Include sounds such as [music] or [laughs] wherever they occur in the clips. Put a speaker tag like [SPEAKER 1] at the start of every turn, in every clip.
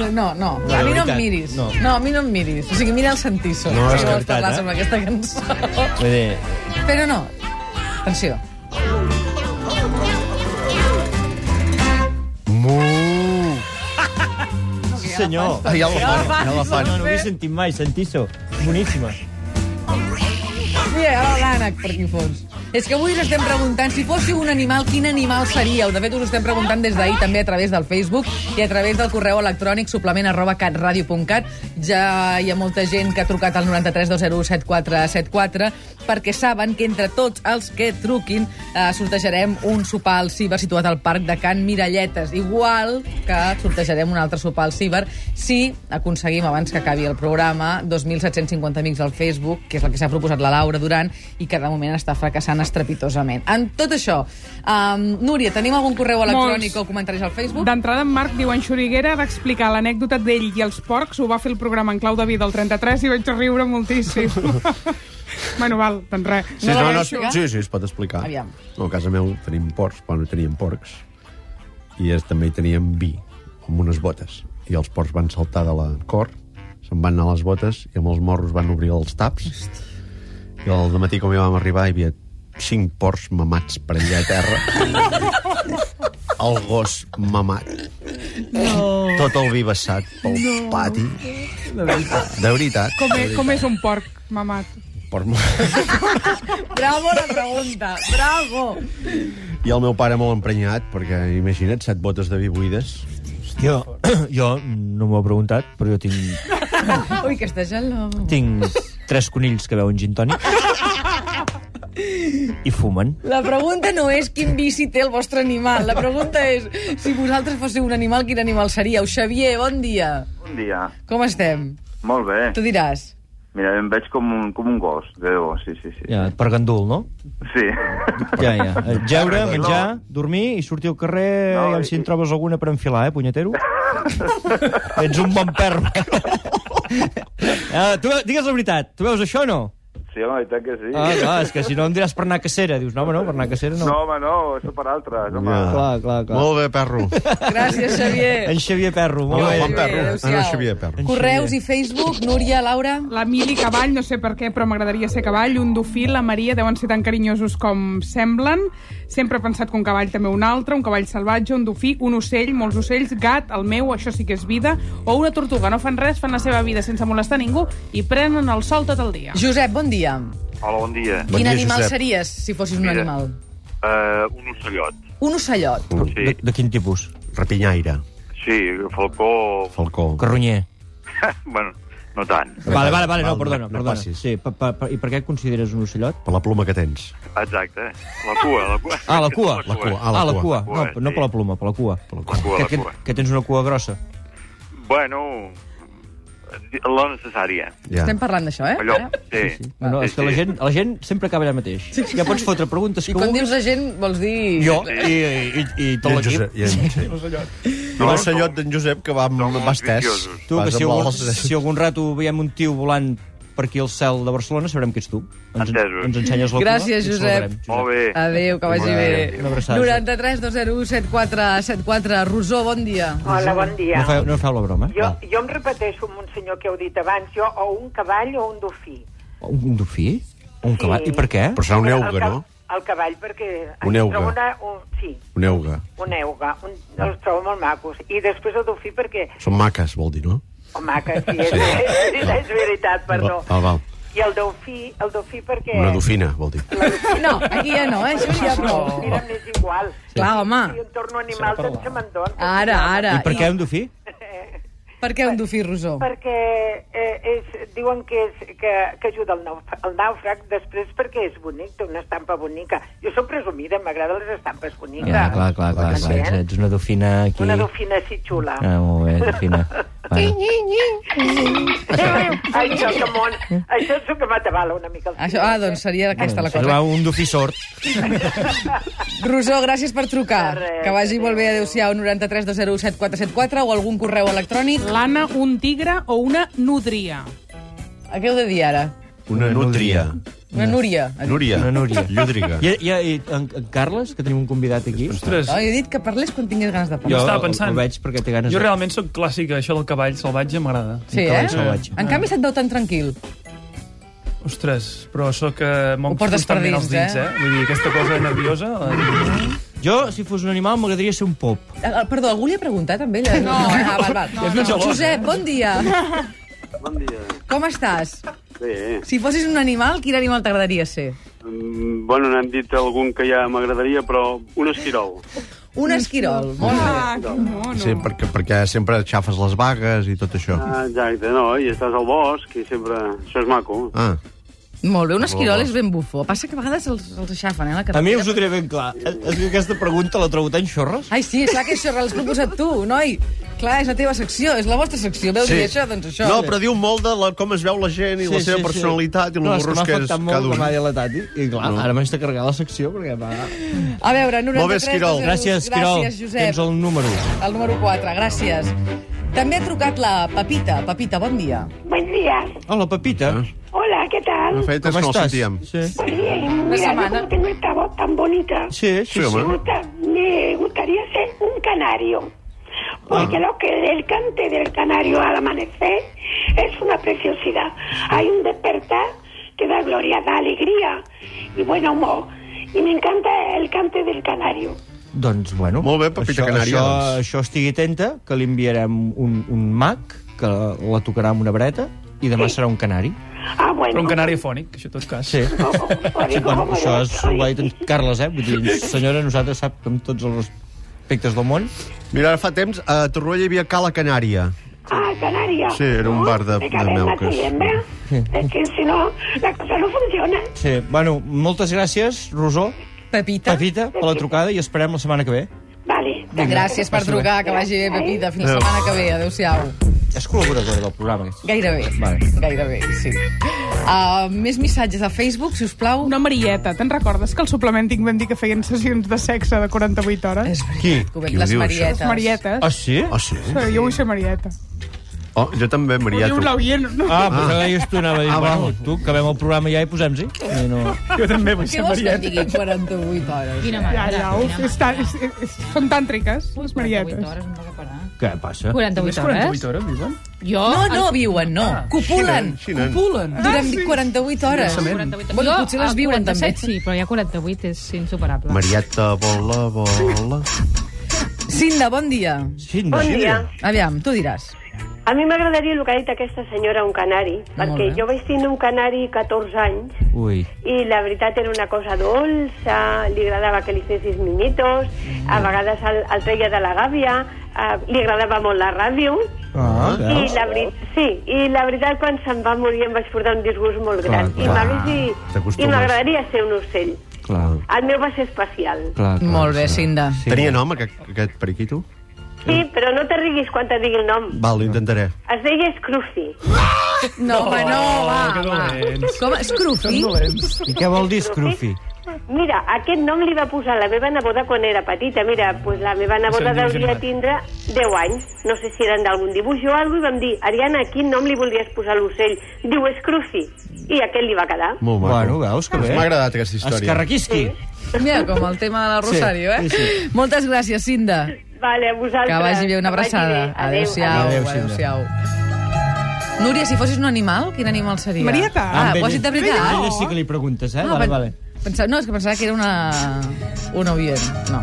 [SPEAKER 1] eh?
[SPEAKER 2] no, no.
[SPEAKER 1] No,
[SPEAKER 2] a mi
[SPEAKER 1] de
[SPEAKER 2] no em
[SPEAKER 1] veritat,
[SPEAKER 2] miris.
[SPEAKER 1] no.
[SPEAKER 2] a mi no em miris. O sigui, mira el Santiso.
[SPEAKER 1] No, és
[SPEAKER 2] si vols
[SPEAKER 1] veritat,
[SPEAKER 2] parlar
[SPEAKER 1] eh?
[SPEAKER 2] sobre aquesta cançó.
[SPEAKER 1] Vull dir,
[SPEAKER 2] Però no. Atenció.
[SPEAKER 3] Mu.
[SPEAKER 1] sí, senyor.
[SPEAKER 3] Ah, ja la
[SPEAKER 2] Ja
[SPEAKER 3] fan, ja la
[SPEAKER 1] No,
[SPEAKER 3] fan.
[SPEAKER 1] no l'havia sentit mai, Santiso. Boníssima.
[SPEAKER 2] Mira, l'ànec per aquí fons. És que avui us estem preguntant, si fóssiu un animal, quin animal seríeu? De fet, us ho estem preguntant des d'ahir també a través del Facebook i a través del correu electrònic suplement arroba catradio.cat. Ja hi ha molta gent que ha trucat al 93 201 7474 perquè saben que entre tots els que truquin eh, sortejarem un sopar al Ciber situat al parc de Can Miralletes. Igual que sortejarem un altre sopar al Ciber si aconseguim, abans que acabi el programa, 2.750 amics al Facebook, que és el que s'ha proposat la Laura Duran i que de moment està fracassant estrepitosament. En tot això, um, Núria, tenim algun correu electrònic
[SPEAKER 4] Molts.
[SPEAKER 2] o comentaris al Facebook?
[SPEAKER 4] D'entrada, en Marc diu en Xuriguera va explicar l'anècdota d'ell i els porcs, ho va fer el programa en clau de vida el 33 i vaig riure moltíssim. bueno, val, doncs res.
[SPEAKER 3] Sí,
[SPEAKER 2] No la
[SPEAKER 3] no,
[SPEAKER 2] vas
[SPEAKER 3] no,
[SPEAKER 2] aixecar?
[SPEAKER 3] sí, sí, es pot explicar.
[SPEAKER 2] Aviam.
[SPEAKER 3] No, a casa meu tenim porcs, bueno, teníem porcs, i es, també hi teníem vi, amb unes botes. I els porcs van saltar de la cor, se'n van anar a les botes, i amb els morros van obrir els taps. I al matí, com hi vam arribar, hi havia cinc porcs mamats per allà a terra. [laughs] el gos mamat. No. Tot el vi vessat pel no. pati. De veritat.
[SPEAKER 4] Com, és, com és un porc, mamat?
[SPEAKER 3] Porc mamat.
[SPEAKER 2] Bravo la pregunta, bravo!
[SPEAKER 3] I el meu pare molt emprenyat, perquè imagina't, set botes de vi buides.
[SPEAKER 1] Jo, [clears throat] jo no m'ho he preguntat, però jo tinc,
[SPEAKER 2] Ui, que està geló.
[SPEAKER 1] tinc tres conills que veuen gin tònic. I fumen.
[SPEAKER 2] La pregunta no és quin vici té el vostre animal. La pregunta és, si vosaltres fóssiu un animal, quin animal seríeu? Xavier, bon dia.
[SPEAKER 5] Bon dia.
[SPEAKER 2] Com estem?
[SPEAKER 5] Molt bé.
[SPEAKER 2] Tu diràs.
[SPEAKER 5] Mira, em veig com un, com un gos, de debò, sí, sí, sí.
[SPEAKER 1] Ja, per gandul, no?
[SPEAKER 5] Sí.
[SPEAKER 1] Ja, ja. Eh, Jeure, menjar, dormir i sortir al carrer,
[SPEAKER 5] No,
[SPEAKER 1] no,
[SPEAKER 5] i-
[SPEAKER 1] si en trobes alguna per enfilar, eh, [laughs] punyetero? Ets un bon perro. Uh, tu, ve- digues la veritat, tu veus això o no?
[SPEAKER 5] Sí, la veritat que sí.
[SPEAKER 1] Ah, clar, és que si no em diràs per anar a cacera. Dius, no, home, no, per anar a cacera no.
[SPEAKER 5] No, home, no, això per altres, home.
[SPEAKER 3] Ja.
[SPEAKER 1] Clar, clar, clar.
[SPEAKER 3] Molt bé, perro.
[SPEAKER 2] Gràcies, Xavier.
[SPEAKER 1] En Xavier Perro, molt
[SPEAKER 3] Molt bon
[SPEAKER 1] bé.
[SPEAKER 3] perro.
[SPEAKER 2] Adéu-siau.
[SPEAKER 3] Ara Xavier, perro.
[SPEAKER 2] Correus i Facebook, Núria, Laura...
[SPEAKER 4] La Mili Cavall, no sé per què, però m'agradaria ser cavall. Un dofí, la Maria, deuen ser tan carinyosos com semblen. Sempre he pensat que un cavall també un altre, un cavall salvatge, un dofí, un ocell, molts ocells, gat, el meu, això sí que és vida, o una tortuga. No fan res, fan la seva vida sense molestar ningú i prenen el sol tot el dia.
[SPEAKER 2] Josep, bon dia.
[SPEAKER 6] Hola, bon dia.
[SPEAKER 3] Bon
[SPEAKER 2] Quin
[SPEAKER 3] dia,
[SPEAKER 2] animal
[SPEAKER 3] Josep.
[SPEAKER 2] series si fossis un
[SPEAKER 6] Mira.
[SPEAKER 2] animal?
[SPEAKER 6] Uh, un ocellot.
[SPEAKER 2] Un ocellot.
[SPEAKER 6] Sí,
[SPEAKER 1] De, de quin tipus?
[SPEAKER 3] Rapinyaire,
[SPEAKER 6] sí falcó... [laughs]
[SPEAKER 3] Falcó.
[SPEAKER 1] Carronyer.
[SPEAKER 6] bueno, no tant.
[SPEAKER 1] Vale, vale, vale, no,
[SPEAKER 3] Val,
[SPEAKER 1] perdona,
[SPEAKER 3] no
[SPEAKER 1] perdona.
[SPEAKER 3] passis.
[SPEAKER 1] Sí, pa, pa, pa, I per què et consideres un ocellot?
[SPEAKER 3] Per la ploma que tens.
[SPEAKER 6] Exacte. La cua, la cua.
[SPEAKER 1] Ah, la cua.
[SPEAKER 3] La cua, ah,
[SPEAKER 1] Ah, la cua.
[SPEAKER 6] La
[SPEAKER 1] No,
[SPEAKER 6] cua,
[SPEAKER 1] no
[SPEAKER 6] sí.
[SPEAKER 1] per la ploma, per la cua.
[SPEAKER 6] La cua, la
[SPEAKER 1] Que, que,
[SPEAKER 6] cua.
[SPEAKER 1] que tens una cua grossa.
[SPEAKER 6] Bueno, la necessària.
[SPEAKER 3] Ja.
[SPEAKER 2] Estem parlant d'això, eh?
[SPEAKER 6] Allò,
[SPEAKER 2] Ara?
[SPEAKER 6] sí.
[SPEAKER 1] Sí. No, no, és que la gent, la gent sempre acaba allà mateix. Ja pots fotre preguntes que
[SPEAKER 2] Quan
[SPEAKER 1] vulguis.
[SPEAKER 2] dius la gent, vols dir...
[SPEAKER 1] Jo i, i, i
[SPEAKER 3] I
[SPEAKER 1] tot
[SPEAKER 3] en
[SPEAKER 1] l'equip.
[SPEAKER 3] Josep, i en, sí. I l'ocellot d'en Josep, que va amb
[SPEAKER 6] Som
[SPEAKER 3] bastès.
[SPEAKER 6] viciosos.
[SPEAKER 1] Tu, que
[SPEAKER 3] Vas
[SPEAKER 1] si
[SPEAKER 3] amb
[SPEAKER 1] algun,
[SPEAKER 3] l'altre.
[SPEAKER 1] si algun rato veiem un tio volant per aquí al cel de Barcelona, sabrem que ets tu. Ens,
[SPEAKER 6] Entesos.
[SPEAKER 1] ens ensenyes la cua.
[SPEAKER 2] Gràcies,
[SPEAKER 1] i et
[SPEAKER 2] Josep.
[SPEAKER 1] saludarem,
[SPEAKER 6] Molt bé.
[SPEAKER 2] Adéu, que vagi
[SPEAKER 6] Molt bé.
[SPEAKER 2] bé.
[SPEAKER 1] Una abraçada.
[SPEAKER 2] 93 201 7474. Rosó, bon dia.
[SPEAKER 7] Hola, bon dia.
[SPEAKER 1] No feu, no feu la broma.
[SPEAKER 7] Jo,
[SPEAKER 3] Ah.
[SPEAKER 1] Va.
[SPEAKER 7] jo em repeteixo amb un senyor que heu dit abans, jo o un cavall o un dofí.
[SPEAKER 1] Un dofí? Un cavall?
[SPEAKER 7] Sí.
[SPEAKER 1] I per què?
[SPEAKER 3] Però serà un
[SPEAKER 7] El
[SPEAKER 3] euga,
[SPEAKER 7] ca-
[SPEAKER 3] no?
[SPEAKER 7] El cavall, perquè...
[SPEAKER 3] Un
[SPEAKER 7] es
[SPEAKER 3] euga.
[SPEAKER 7] troba Una, un, sí,
[SPEAKER 3] Un euga.
[SPEAKER 7] un euga. Un, els trobo molt macos. I després el dofí perquè...
[SPEAKER 3] Són maques, vol dir, no?
[SPEAKER 7] Oh, maca, sí, [laughs] és, és, és veritat, perdó.
[SPEAKER 3] Val, val.
[SPEAKER 7] I el dofí, el dofí perquè...
[SPEAKER 8] Eh.
[SPEAKER 3] Una dofina, vol dir.
[SPEAKER 2] No, aquí ja no, eh? Això ja
[SPEAKER 7] No,
[SPEAKER 2] prou.
[SPEAKER 7] mira, m'és igual.
[SPEAKER 2] Clar, home.
[SPEAKER 7] Si em torno animal, doncs se me'n dona.
[SPEAKER 2] Ara, ara.
[SPEAKER 1] I per què un dofí?
[SPEAKER 2] Per què un dofí, Rosó?
[SPEAKER 7] Perquè eh, és, diuen que, és, que, que ajuda el, nauf el nàufrag, després perquè és bonic, té una estampa bonica. Jo sóc presumida, m'agraden les estampes boniques.
[SPEAKER 1] Ja, clar, clar, clar. clar,
[SPEAKER 7] M'entén?
[SPEAKER 1] Ets, ets una dofina aquí.
[SPEAKER 7] Una dofina així xula.
[SPEAKER 1] Ah, molt bé, dofina. Bueno.
[SPEAKER 7] Ai, això que mon... Això és el que m'atabala una mica. El
[SPEAKER 2] Això, ah, doncs seria aquesta la cosa.
[SPEAKER 1] Va, eh, un dofí sort.
[SPEAKER 2] Rosó, gràcies per trucar.
[SPEAKER 7] De res,
[SPEAKER 2] Que vagi molt bé.
[SPEAKER 7] adéu.
[SPEAKER 2] Adéu-siau, 93 201 7474 o algun correu electrònic.
[SPEAKER 4] L'Anna, un tigre o una nodria.
[SPEAKER 2] A què heu de dir ara?
[SPEAKER 3] Una nútria.
[SPEAKER 2] Una Núria.
[SPEAKER 3] Núria.
[SPEAKER 1] Una núria.
[SPEAKER 3] Llúdriga.
[SPEAKER 1] I, i, i en, en Carles, que tenim un convidat aquí?
[SPEAKER 9] Ostres,
[SPEAKER 2] Oh, jo he dit que parlés quan tingués ganes de
[SPEAKER 9] Jo
[SPEAKER 2] parlar.
[SPEAKER 9] estava
[SPEAKER 1] el-
[SPEAKER 9] pensant.
[SPEAKER 1] El, veig perquè té ganes
[SPEAKER 9] jo
[SPEAKER 1] de-
[SPEAKER 9] realment sóc clàssica, això del cavall salvatge m'agrada.
[SPEAKER 2] Sí,
[SPEAKER 1] un cavall
[SPEAKER 2] eh?
[SPEAKER 1] salvatge.
[SPEAKER 2] En canvi se't veu tan tranquil.
[SPEAKER 9] Ostres, però sóc que
[SPEAKER 2] Ho
[SPEAKER 9] m'ho
[SPEAKER 2] portes per
[SPEAKER 9] constantment els
[SPEAKER 2] dins,
[SPEAKER 9] dits,
[SPEAKER 2] eh?
[SPEAKER 9] eh? Vull dir, aquesta cosa nerviosa... eh, La...
[SPEAKER 1] Jo, si fos un animal, m'agradaria ser un pop.
[SPEAKER 2] Ah, ah, Perdó, algú li ha preguntat, també? No, ah, val, val.
[SPEAKER 9] És més gelós,
[SPEAKER 2] Josep,
[SPEAKER 9] eh?
[SPEAKER 2] bon dia.
[SPEAKER 5] Bon dia.
[SPEAKER 2] Com estàs?
[SPEAKER 5] Bé.
[SPEAKER 2] Si fossis un animal, quin animal t'agradaria ser?
[SPEAKER 5] Mm, Bueno, n'hem dit algun que ja m'agradaria, però un esquirol.
[SPEAKER 2] Un esquirol. Molt bé.
[SPEAKER 4] Ah, que mono.
[SPEAKER 3] Sí, perquè, perquè sempre xafes les vagues i tot això.
[SPEAKER 5] Ah, Exacte, no, i estàs al bosc i sempre... Això és maco.
[SPEAKER 3] Ah,
[SPEAKER 2] Molt bé, un esquirol és ben bufó. Passa que a vegades els, els aixafen, eh, la
[SPEAKER 1] A
[SPEAKER 2] carretera.
[SPEAKER 1] mi us ho diré ben clar. És que aquesta pregunta la trobo tan xorres.
[SPEAKER 2] Ai, sí, és clar que això l'has proposat tu, noi. Clar, és la teva secció, és la vostra secció. Veus sí. dir això, doncs això.
[SPEAKER 3] No, però diu molt de la, com es veu la gent i sí, la seva sí, personalitat sí. i
[SPEAKER 1] no,
[SPEAKER 3] els
[SPEAKER 1] és que
[SPEAKER 3] burros
[SPEAKER 1] m'ha
[SPEAKER 3] que és
[SPEAKER 1] afectat molt
[SPEAKER 3] cada
[SPEAKER 1] com ha
[SPEAKER 3] un.
[SPEAKER 1] dit la Tati. I clar,
[SPEAKER 3] No.
[SPEAKER 1] no. ara m'haig de carregar la secció perquè va...
[SPEAKER 2] A veure, 93...
[SPEAKER 3] Molt bé, Esquirol.
[SPEAKER 1] Gràcies, Quirol.
[SPEAKER 2] Gràcies,
[SPEAKER 1] Tens
[SPEAKER 2] Josep. El...
[SPEAKER 1] el número.
[SPEAKER 2] el número 4, gràcies. També ha trucat la Pepita. Pepita, bon dia.
[SPEAKER 8] Buen día.
[SPEAKER 1] Hola, Pepita.
[SPEAKER 8] Hola, ¿qué
[SPEAKER 3] De
[SPEAKER 8] tal?
[SPEAKER 3] fet,
[SPEAKER 1] Com
[SPEAKER 3] és que no el
[SPEAKER 1] estàs?
[SPEAKER 3] sentíem.
[SPEAKER 1] Sí.
[SPEAKER 8] Bien, mira, yo
[SPEAKER 2] semana.
[SPEAKER 8] como tengo esta voz tan bonita,
[SPEAKER 1] Sí, sí,
[SPEAKER 3] Sí,
[SPEAKER 1] sí.
[SPEAKER 3] home.
[SPEAKER 8] me, gusta- me gustaría ser un canario. Porque lo que el cante del canario al amanecer es una preciosidad. Hay un despertar que da gloria, da alegría y buen humor. Y me encanta el cante del canario.
[SPEAKER 1] Doncs, bueno...
[SPEAKER 3] Molt bé, Pepita
[SPEAKER 1] això,
[SPEAKER 3] Canària,
[SPEAKER 1] Això,
[SPEAKER 3] doncs.
[SPEAKER 1] això estigui atenta, que li enviarem un, un mag, que la tocarà amb una breta, i demà serà un canari.
[SPEAKER 8] Ah, bueno.
[SPEAKER 9] Però un canari afònic, això en tot cas.
[SPEAKER 1] Sí.
[SPEAKER 8] Oh, oh, oh,
[SPEAKER 1] Sí, [laughs]
[SPEAKER 8] digo,
[SPEAKER 1] bueno,
[SPEAKER 8] ¿cómo
[SPEAKER 1] això
[SPEAKER 8] yo
[SPEAKER 1] és,
[SPEAKER 8] soy?
[SPEAKER 1] ho ha dit en Carles, eh? Vull dir, senyora, nosaltres sap que amb tots els aspectes del món...
[SPEAKER 3] Mira, ara fa temps, a Torroella hi havia Cala Canària.
[SPEAKER 8] Ah, Canària.
[SPEAKER 3] Sí, era un bar de-
[SPEAKER 8] de
[SPEAKER 3] de melques.
[SPEAKER 8] Tienda. Es que si no, la cosa no funciona.
[SPEAKER 1] Sí, bueno, moltes gràcies, Rosó,
[SPEAKER 2] Pepita.
[SPEAKER 1] Pepita, per la trucada i esperem la setmana que ve.
[SPEAKER 8] Vale.
[SPEAKER 2] Gràcies per
[SPEAKER 1] Passi bé.
[SPEAKER 2] trucar, que vagi bé, Pepita. Fins la
[SPEAKER 3] Adéu.
[SPEAKER 2] setmana que ve. Adéu-siau.
[SPEAKER 1] És col·laboradora del programa, eh? aquesta.
[SPEAKER 2] Gairebé.
[SPEAKER 1] Vale.
[SPEAKER 2] Gairebé, sí. Uh, més missatges a Facebook, si us plau.
[SPEAKER 4] Una Marieta, te'n recordes que al suplement tinc vam dir que feien sessions de sexe de 48 hores?
[SPEAKER 2] És
[SPEAKER 3] Qui?
[SPEAKER 2] veritat, que ho veig,
[SPEAKER 3] Qui ho
[SPEAKER 2] les
[SPEAKER 3] diu, això?
[SPEAKER 2] marietes.
[SPEAKER 4] Les Marietes.
[SPEAKER 1] Ah, sí?
[SPEAKER 3] Oh, sí?
[SPEAKER 4] Sí, jo vull ser Marieta.
[SPEAKER 3] Oh, jo també,
[SPEAKER 4] Ho diu
[SPEAKER 3] Marieta.
[SPEAKER 4] l'oient. No?
[SPEAKER 1] Ah, però ah. deies tu, anava a dir,
[SPEAKER 3] Ah,
[SPEAKER 1] ah, bueno,
[SPEAKER 3] val.
[SPEAKER 1] tu, acabem el programa ja i posem-s'hi. I No...
[SPEAKER 9] Jo també vull
[SPEAKER 2] Què
[SPEAKER 9] ser
[SPEAKER 2] vols que et
[SPEAKER 9] Marieta.
[SPEAKER 2] digui 48 hores?
[SPEAKER 10] Quina
[SPEAKER 4] Ja,
[SPEAKER 10] mare.
[SPEAKER 4] ja, uf, és tan, és, és, és, són tàntriques, les Marietes.
[SPEAKER 10] hores, no va parar.
[SPEAKER 1] Què passa?
[SPEAKER 10] 48 hores?
[SPEAKER 9] 48 hores, viuen?
[SPEAKER 10] Jo...
[SPEAKER 2] No, Ah. no viuen, no. Copulen.
[SPEAKER 3] Xinen.
[SPEAKER 2] Copulen.
[SPEAKER 1] Ah,
[SPEAKER 2] Durant 48 hores. Bueno,
[SPEAKER 10] Jo,
[SPEAKER 2] potser les
[SPEAKER 10] a
[SPEAKER 2] viuen,
[SPEAKER 10] 47,
[SPEAKER 2] també.
[SPEAKER 10] Sí, però ja 48 és insuperable.
[SPEAKER 3] Marieta, bola, bola...
[SPEAKER 2] Cinda, bon dia.
[SPEAKER 1] Xinda.
[SPEAKER 8] Bon dia.
[SPEAKER 2] Aviam, tu diràs.
[SPEAKER 8] A mi m'agradaria el que ha dit aquesta senyora, un canari,
[SPEAKER 2] bé.
[SPEAKER 8] perquè jo vaig tindre un canari 14 anys
[SPEAKER 1] Ui.
[SPEAKER 8] i la veritat era una cosa dolça, li agradava que li fessis minyitos, a
[SPEAKER 1] Mm.
[SPEAKER 8] vegades el, el treia de la gàbia, eh, li agradava molt la ràdio,
[SPEAKER 1] Ah,
[SPEAKER 8] i
[SPEAKER 1] veus?
[SPEAKER 8] la, veri- sí, i la veritat quan se'n va morir em vaig portar un disgust molt gran
[SPEAKER 1] Clar,
[SPEAKER 8] i
[SPEAKER 1] clar.
[SPEAKER 8] m'hagués- i
[SPEAKER 3] T'acostumes.
[SPEAKER 8] m'agradaria ser un ocell.
[SPEAKER 1] Clar,
[SPEAKER 8] El meu va ser especial.
[SPEAKER 1] clar, clar.
[SPEAKER 2] Molt bé, Cinda.
[SPEAKER 1] Sí.
[SPEAKER 3] Tenia nom, aquest, aquest periquito?
[SPEAKER 8] Sí, però no te riguis quan te digui el nom.
[SPEAKER 3] Val, ho intentaré.
[SPEAKER 8] Es deia Scruffy.
[SPEAKER 2] No, home, no,
[SPEAKER 9] que
[SPEAKER 2] va.
[SPEAKER 9] dolents.
[SPEAKER 2] Com, Scruffy?
[SPEAKER 1] I què vol dir, Scruffy?
[SPEAKER 8] Mira, aquest nom li va posar la meva neboda quan era petita. Mira, pues la meva neboda
[SPEAKER 9] Això em diu
[SPEAKER 8] devia
[SPEAKER 9] Gerard.
[SPEAKER 8] tindre 10 anys. No sé si eren d'algun dibuix o alguna cosa, i vam dir, Ariana, quin nom li voldries posar a l'ocell? Diu Scruffy. I aquest li va quedar.
[SPEAKER 3] Molt maco. Doncs
[SPEAKER 1] Bueno, veus que bé.
[SPEAKER 3] M'ha agradat aquesta història.
[SPEAKER 1] Escarraquisqui.
[SPEAKER 2] Mira, com el tema de la Rosario, eh?
[SPEAKER 1] sí, sí.
[SPEAKER 2] Moltes gràcies, Cinda.
[SPEAKER 8] Vale, a vosaltres.
[SPEAKER 2] Que vagi bé, una
[SPEAKER 8] Que vagi
[SPEAKER 2] abraçada.
[SPEAKER 8] bé. Adéu,
[SPEAKER 2] Adéu-siau.
[SPEAKER 1] adéu.
[SPEAKER 2] Adéu-siau. Núria, si fossis un animal, quin animal seria?
[SPEAKER 4] Marieta.
[SPEAKER 2] Ah,
[SPEAKER 1] Amb
[SPEAKER 2] ho has
[SPEAKER 1] ell-
[SPEAKER 2] dit de veritat?
[SPEAKER 1] Ella sí que li preguntes, eh?
[SPEAKER 2] Ah,
[SPEAKER 1] vale,
[SPEAKER 2] pen-
[SPEAKER 1] vale.
[SPEAKER 2] Pensava, no, és que pensava que era una... un oient. No.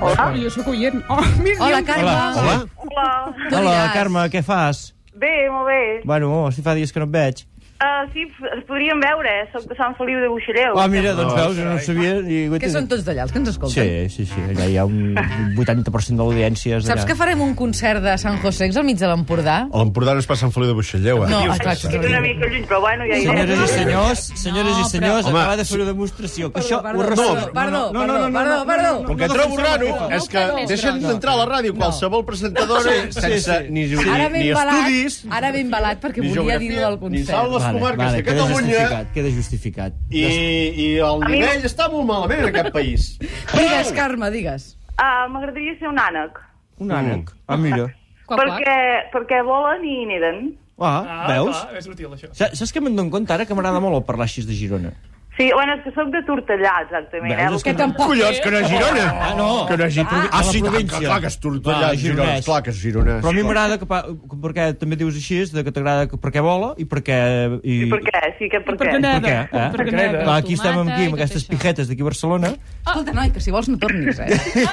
[SPEAKER 4] Hola. Jo sóc oient. Oh, mira,
[SPEAKER 2] Hola,
[SPEAKER 4] jo-
[SPEAKER 2] Carme.
[SPEAKER 1] Hola, hola.
[SPEAKER 11] Hola.
[SPEAKER 2] Tu
[SPEAKER 1] Hola,
[SPEAKER 2] diràs.
[SPEAKER 1] Carme, què fas?
[SPEAKER 11] Bé, molt bé.
[SPEAKER 1] Bueno, si fa dies que no et veig.
[SPEAKER 11] Uh, sí, f- es podríem veure. Soc de Sant Feliu de Buixareu.
[SPEAKER 1] Ah, mira, doncs veus, jo no ho sabia. I...
[SPEAKER 2] Que són tots d'allà, els que ens escolten.
[SPEAKER 1] Sí, sí, sí, allà hi ha un 80% de l'audiència. és
[SPEAKER 2] Saps
[SPEAKER 1] allà.
[SPEAKER 2] que farem un concert de Sant José al mig de l'Empordà?
[SPEAKER 1] Oh,
[SPEAKER 3] A l'Empordà no es passa en Feliu de Buixalleu, eh?
[SPEAKER 2] No, ah, clar,
[SPEAKER 11] Estic una mica lluny, però bueno, ja hi
[SPEAKER 1] Senyores i
[SPEAKER 11] és.
[SPEAKER 1] senyors, senyores i
[SPEAKER 10] No,
[SPEAKER 1] senyors,
[SPEAKER 3] però-
[SPEAKER 1] acaba de fer una demostració. Que això
[SPEAKER 2] perdó,
[SPEAKER 1] ho resol.
[SPEAKER 2] perdó, perdó, perdó, perdó, perdó.
[SPEAKER 3] El que trobo raro és que
[SPEAKER 10] no, no,
[SPEAKER 3] deixen
[SPEAKER 2] no.
[SPEAKER 3] d'entrar a la ràdio qualsevol presentadora
[SPEAKER 1] Sí, sí,
[SPEAKER 3] sense
[SPEAKER 1] sí.
[SPEAKER 3] ni,
[SPEAKER 2] Ara
[SPEAKER 3] ni,
[SPEAKER 2] ben
[SPEAKER 3] ni
[SPEAKER 2] balat,
[SPEAKER 3] estudis,
[SPEAKER 2] ara ben balat, perquè
[SPEAKER 3] ni
[SPEAKER 2] volia dir-ho
[SPEAKER 3] geografia,
[SPEAKER 2] del
[SPEAKER 3] ni salt
[SPEAKER 2] concert.
[SPEAKER 3] les comarques de
[SPEAKER 1] queda
[SPEAKER 3] Catalunya
[SPEAKER 1] justificat, queda justificat.
[SPEAKER 3] i, i el nivell està molt malament en aquest
[SPEAKER 1] [laughs]
[SPEAKER 3] país.
[SPEAKER 2] Digues, Carme, digues.
[SPEAKER 11] Uh, M'agradaria ser un ànec.
[SPEAKER 1] Un ànec. Ah, mira.
[SPEAKER 10] Quac, quac.
[SPEAKER 11] Perquè, perquè volen i neden.
[SPEAKER 1] Ah, veus?
[SPEAKER 9] clar, és útil, això.
[SPEAKER 1] Sa- Saps que me'n dono compte ara que m'agrada molt el parlar així de Girona?
[SPEAKER 11] Sí, bueno, és que sóc de Tortellà, exactament.
[SPEAKER 1] Veus,
[SPEAKER 11] eh?
[SPEAKER 1] és que tampoc-
[SPEAKER 3] Collons, que no és Girona!
[SPEAKER 1] Ah, no.
[SPEAKER 3] Que no és Girona.
[SPEAKER 1] Ah, a
[SPEAKER 3] Ah, sí,
[SPEAKER 1] la
[SPEAKER 3] tant,
[SPEAKER 1] província.
[SPEAKER 3] que clar que és Tortellà,
[SPEAKER 1] Va,
[SPEAKER 3] és Girona.
[SPEAKER 1] gironès.
[SPEAKER 3] Clar que és Girona.
[SPEAKER 1] Però a mi m'agrada que, pa- perquè també dius així, és de que t'agrada que- perquè vola i perquè... I,
[SPEAKER 11] I per què? Sí, que per,
[SPEAKER 1] I per què? Eh?
[SPEAKER 11] Per què?
[SPEAKER 1] Clar, aquí estem amb
[SPEAKER 11] i
[SPEAKER 1] qui? Amb
[SPEAKER 11] tot
[SPEAKER 1] aquestes pijetes d'aquí a Barcelona.
[SPEAKER 2] Escolta, noi, que si vols no tornis,
[SPEAKER 1] [laughs]
[SPEAKER 2] eh?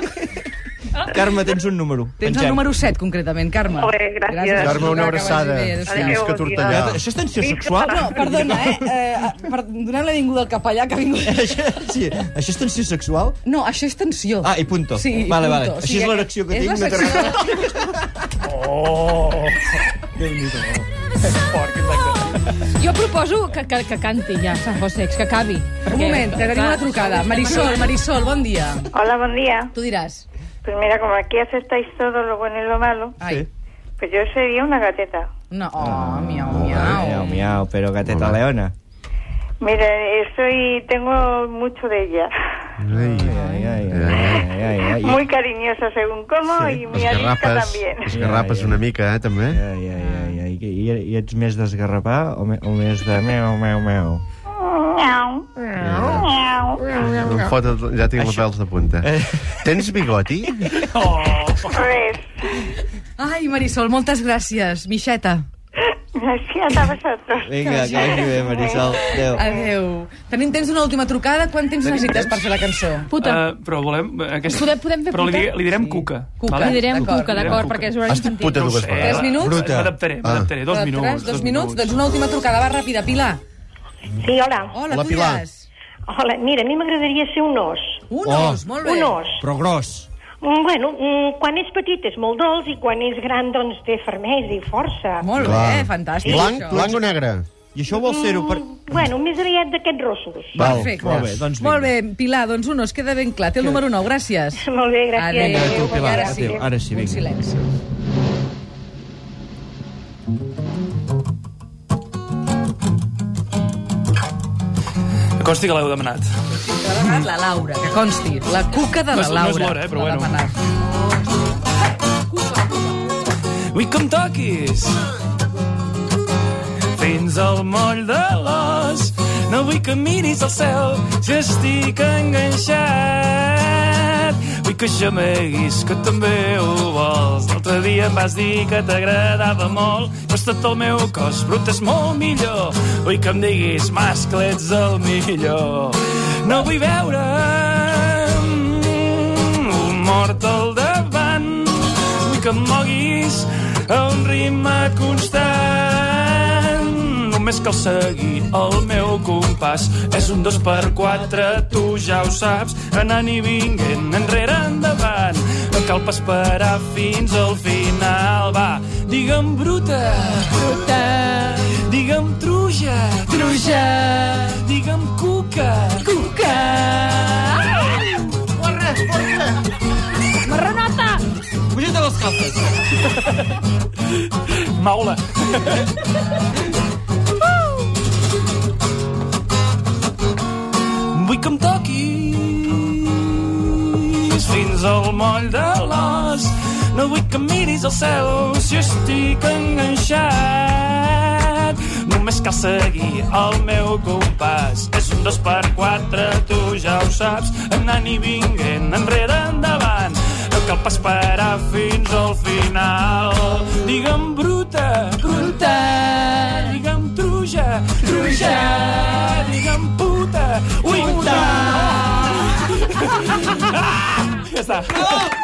[SPEAKER 1] Carme, tens un número.
[SPEAKER 2] Tens el
[SPEAKER 1] Pengem.
[SPEAKER 2] número 7, concretament, Carme.
[SPEAKER 11] Molt bé, gràcies.
[SPEAKER 3] Carme, una abraçada. Fins que Tortellà.
[SPEAKER 1] Adéu, Això és tensió sexual?
[SPEAKER 2] No, perdona, eh? eh per, donem la vinguda al capellà que ha
[SPEAKER 1] [laughs]
[SPEAKER 2] vingut...
[SPEAKER 1] Això, sí, això és tensió sexual?
[SPEAKER 2] No, això és tensió.
[SPEAKER 1] Ah, i punto.
[SPEAKER 2] Sí, i
[SPEAKER 1] vale, vale.
[SPEAKER 2] punto. O
[SPEAKER 1] Així
[SPEAKER 2] sigui,
[SPEAKER 1] és l'erecció que
[SPEAKER 2] és
[SPEAKER 1] tinc.
[SPEAKER 2] la
[SPEAKER 1] no té res.
[SPEAKER 9] Oh!
[SPEAKER 10] Jo proposo que, que, que canti ja, Sant José, que acabi.
[SPEAKER 2] Un moment, que tenim una trucada. Marisol, Marisol, bon dia.
[SPEAKER 12] Hola, buen día.
[SPEAKER 2] Tú dirás.
[SPEAKER 12] Pues mira, como aquí aceptáis todo lo bueno y lo malo, pues yo sería una gateta.
[SPEAKER 2] No, oh, miau,
[SPEAKER 1] eh, Miau, miau, però gateta leona.
[SPEAKER 12] Mira, eh, soy, tengo mucho de ella.
[SPEAKER 1] Ai, ai, ai, ai, ai, ai.
[SPEAKER 12] Muy cariñosa según cómo
[SPEAKER 1] Sí.
[SPEAKER 12] y muy arisca
[SPEAKER 3] Esgarrapes,
[SPEAKER 12] también.
[SPEAKER 3] esgarrapes una mica, eh, també.
[SPEAKER 1] Ai, ai, ai, ai. I, i ets més d'esgarrapar o, me, o més de meu, meu, meu?
[SPEAKER 12] Miau. Miau.
[SPEAKER 3] Em fot, el- ja tinc els
[SPEAKER 1] Això- Eh.
[SPEAKER 3] pèls de punta. Tens bigoti?
[SPEAKER 2] Ah.
[SPEAKER 9] Oh.
[SPEAKER 12] Res.
[SPEAKER 2] Ai, Marisol, moltes gràcies. Mixeta.
[SPEAKER 12] Gracias a vosotros.
[SPEAKER 1] Vinga, que vagi bé, Marisol. Adéu.
[SPEAKER 2] Adéu. Tenim temps d'una última trucada. Quant temps necessites per fer la cançó?
[SPEAKER 9] Eh, però volem... eh, Aquesta...
[SPEAKER 2] Podem- podem fer
[SPEAKER 9] però li,
[SPEAKER 2] puta?
[SPEAKER 9] di- li direm sí. cuca.
[SPEAKER 2] Cuca.
[SPEAKER 9] vale?
[SPEAKER 2] Li direm cuca,
[SPEAKER 9] Li direm
[SPEAKER 2] d'acord, perquè és horari Has dit infantil. puta
[SPEAKER 9] No ho
[SPEAKER 2] dues
[SPEAKER 9] sé,
[SPEAKER 2] vegades. Tres minuts?
[SPEAKER 9] Bruta. M'adaptaré, m'adaptaré. Dos
[SPEAKER 2] T'adaptaràs?
[SPEAKER 9] minuts.
[SPEAKER 2] Dos minuts? Doncs una última trucada. Va, ràpida. Pilar.
[SPEAKER 12] Sí, hola.
[SPEAKER 2] Hola, tu diràs.
[SPEAKER 12] Hola, mira, a mi m'agradaria ser un os.
[SPEAKER 2] Un
[SPEAKER 1] Oh. os, molt bé.
[SPEAKER 12] Un os.
[SPEAKER 1] Però gros.
[SPEAKER 12] Mm, Bueno, mm, quan és petit és molt dolç i quan és gran, doncs, té fermesa i força.
[SPEAKER 2] Molt
[SPEAKER 3] Clar.
[SPEAKER 2] fantàstic,
[SPEAKER 3] Blanc,
[SPEAKER 2] això.
[SPEAKER 3] blanc o negre?
[SPEAKER 1] I això vols ser-ho per...
[SPEAKER 12] Bueno, més aviat d'aquests rossos.
[SPEAKER 3] Val,
[SPEAKER 2] Perfecte.
[SPEAKER 3] molt bé,
[SPEAKER 1] doncs
[SPEAKER 2] Molt bé, Pilar, doncs un os, queda ben clar. Té el número 9,
[SPEAKER 12] [laughs]
[SPEAKER 2] gràcies.
[SPEAKER 12] Molt bé,
[SPEAKER 1] Ah,
[SPEAKER 12] gràcies.
[SPEAKER 2] Adéu.
[SPEAKER 1] Adéu, Pilar,
[SPEAKER 2] Ara sí.
[SPEAKER 1] adéu. Ara sí,
[SPEAKER 2] Un
[SPEAKER 1] vinga.
[SPEAKER 2] silenci.
[SPEAKER 9] Que consti que l'heu demanat.
[SPEAKER 2] L'ha demanat la Laura, que consti. La cuca de
[SPEAKER 9] No
[SPEAKER 2] la
[SPEAKER 9] és- no és
[SPEAKER 2] Laura.
[SPEAKER 9] l'hora, eh, però
[SPEAKER 2] l'ha
[SPEAKER 9] bueno.
[SPEAKER 2] demanat.
[SPEAKER 9] Vull que em toquis fins al moll de l'os. No vull que miris al cel si estic enganxat. Vull que xameguis, que també ho vols. L'altre dia em vas dir que t'agradava molt, però és tot el meu cos, brut és molt millor. Vull que em diguis, mascle, ets el millor. No vull veure'm mort al davant vull que em moguis a un ritme constant. Només cal seguir el meu compàs. És un dos per quatre, tu ja ho saps, anant i vinguent, enrere, endavant. No cal pas parar fins al final, va. Digue'm bruta, bruta. Digue'm truja, truja. Digue'm cuca, cuca.
[SPEAKER 10] Corre, corre! Marranota!
[SPEAKER 1] Puja't a les calces.
[SPEAKER 9] Maula. Vull que em toquis fins al moll de l'os. No vull que em miris al cel si estic enganxat. Només cal seguir el meu compàs. És un dos per quatre, tu ja ho saps. Anant i vinguent, enrere, endavant. No cal pas parar fins al final. Digue'm bruta, bruta. Digue'm truja, truja. Digue'm puta, puta. puta. Ah! [laughs] Ja està. Oh!